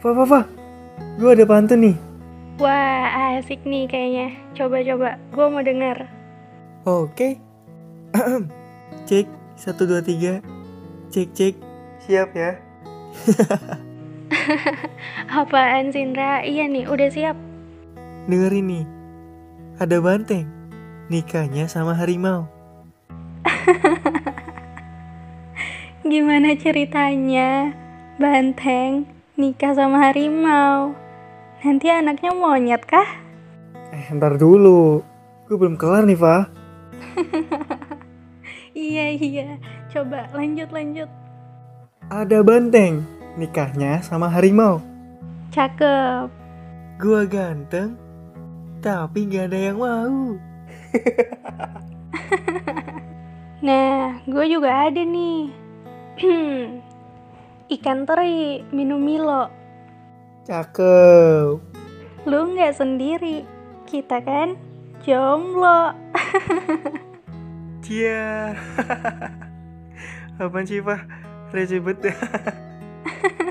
Fa, Fa, Fa, gue ada pantun nih. Wah, asik nih kayaknya. Coba-coba, gue mau denger. Oke. Ahem. Cek, 1, 2, 3. Cek, cek. Siap ya. Apaan sih, Indra? Iya nih, udah siap. Dengar ini. Ada banteng. Nikahnya sama harimau. Gimana ceritanya? Banteng, nikah sama harimau. Nanti anaknya monyet kah? Eh, ntar dulu. Gue belum kelar nih, Fa. Iya, iya. Coba lanjut, lanjut. Ada banteng. Nikahnya sama harimau. Cakep. Gua ganteng, tapi gak ada yang mau. Nah, gue juga ada nih. Ikan teri, minum Milo. Cakep. Lu nggak sendiri. Kita kan jomblo. Cia. Apaan sih, Pak? Receh banget.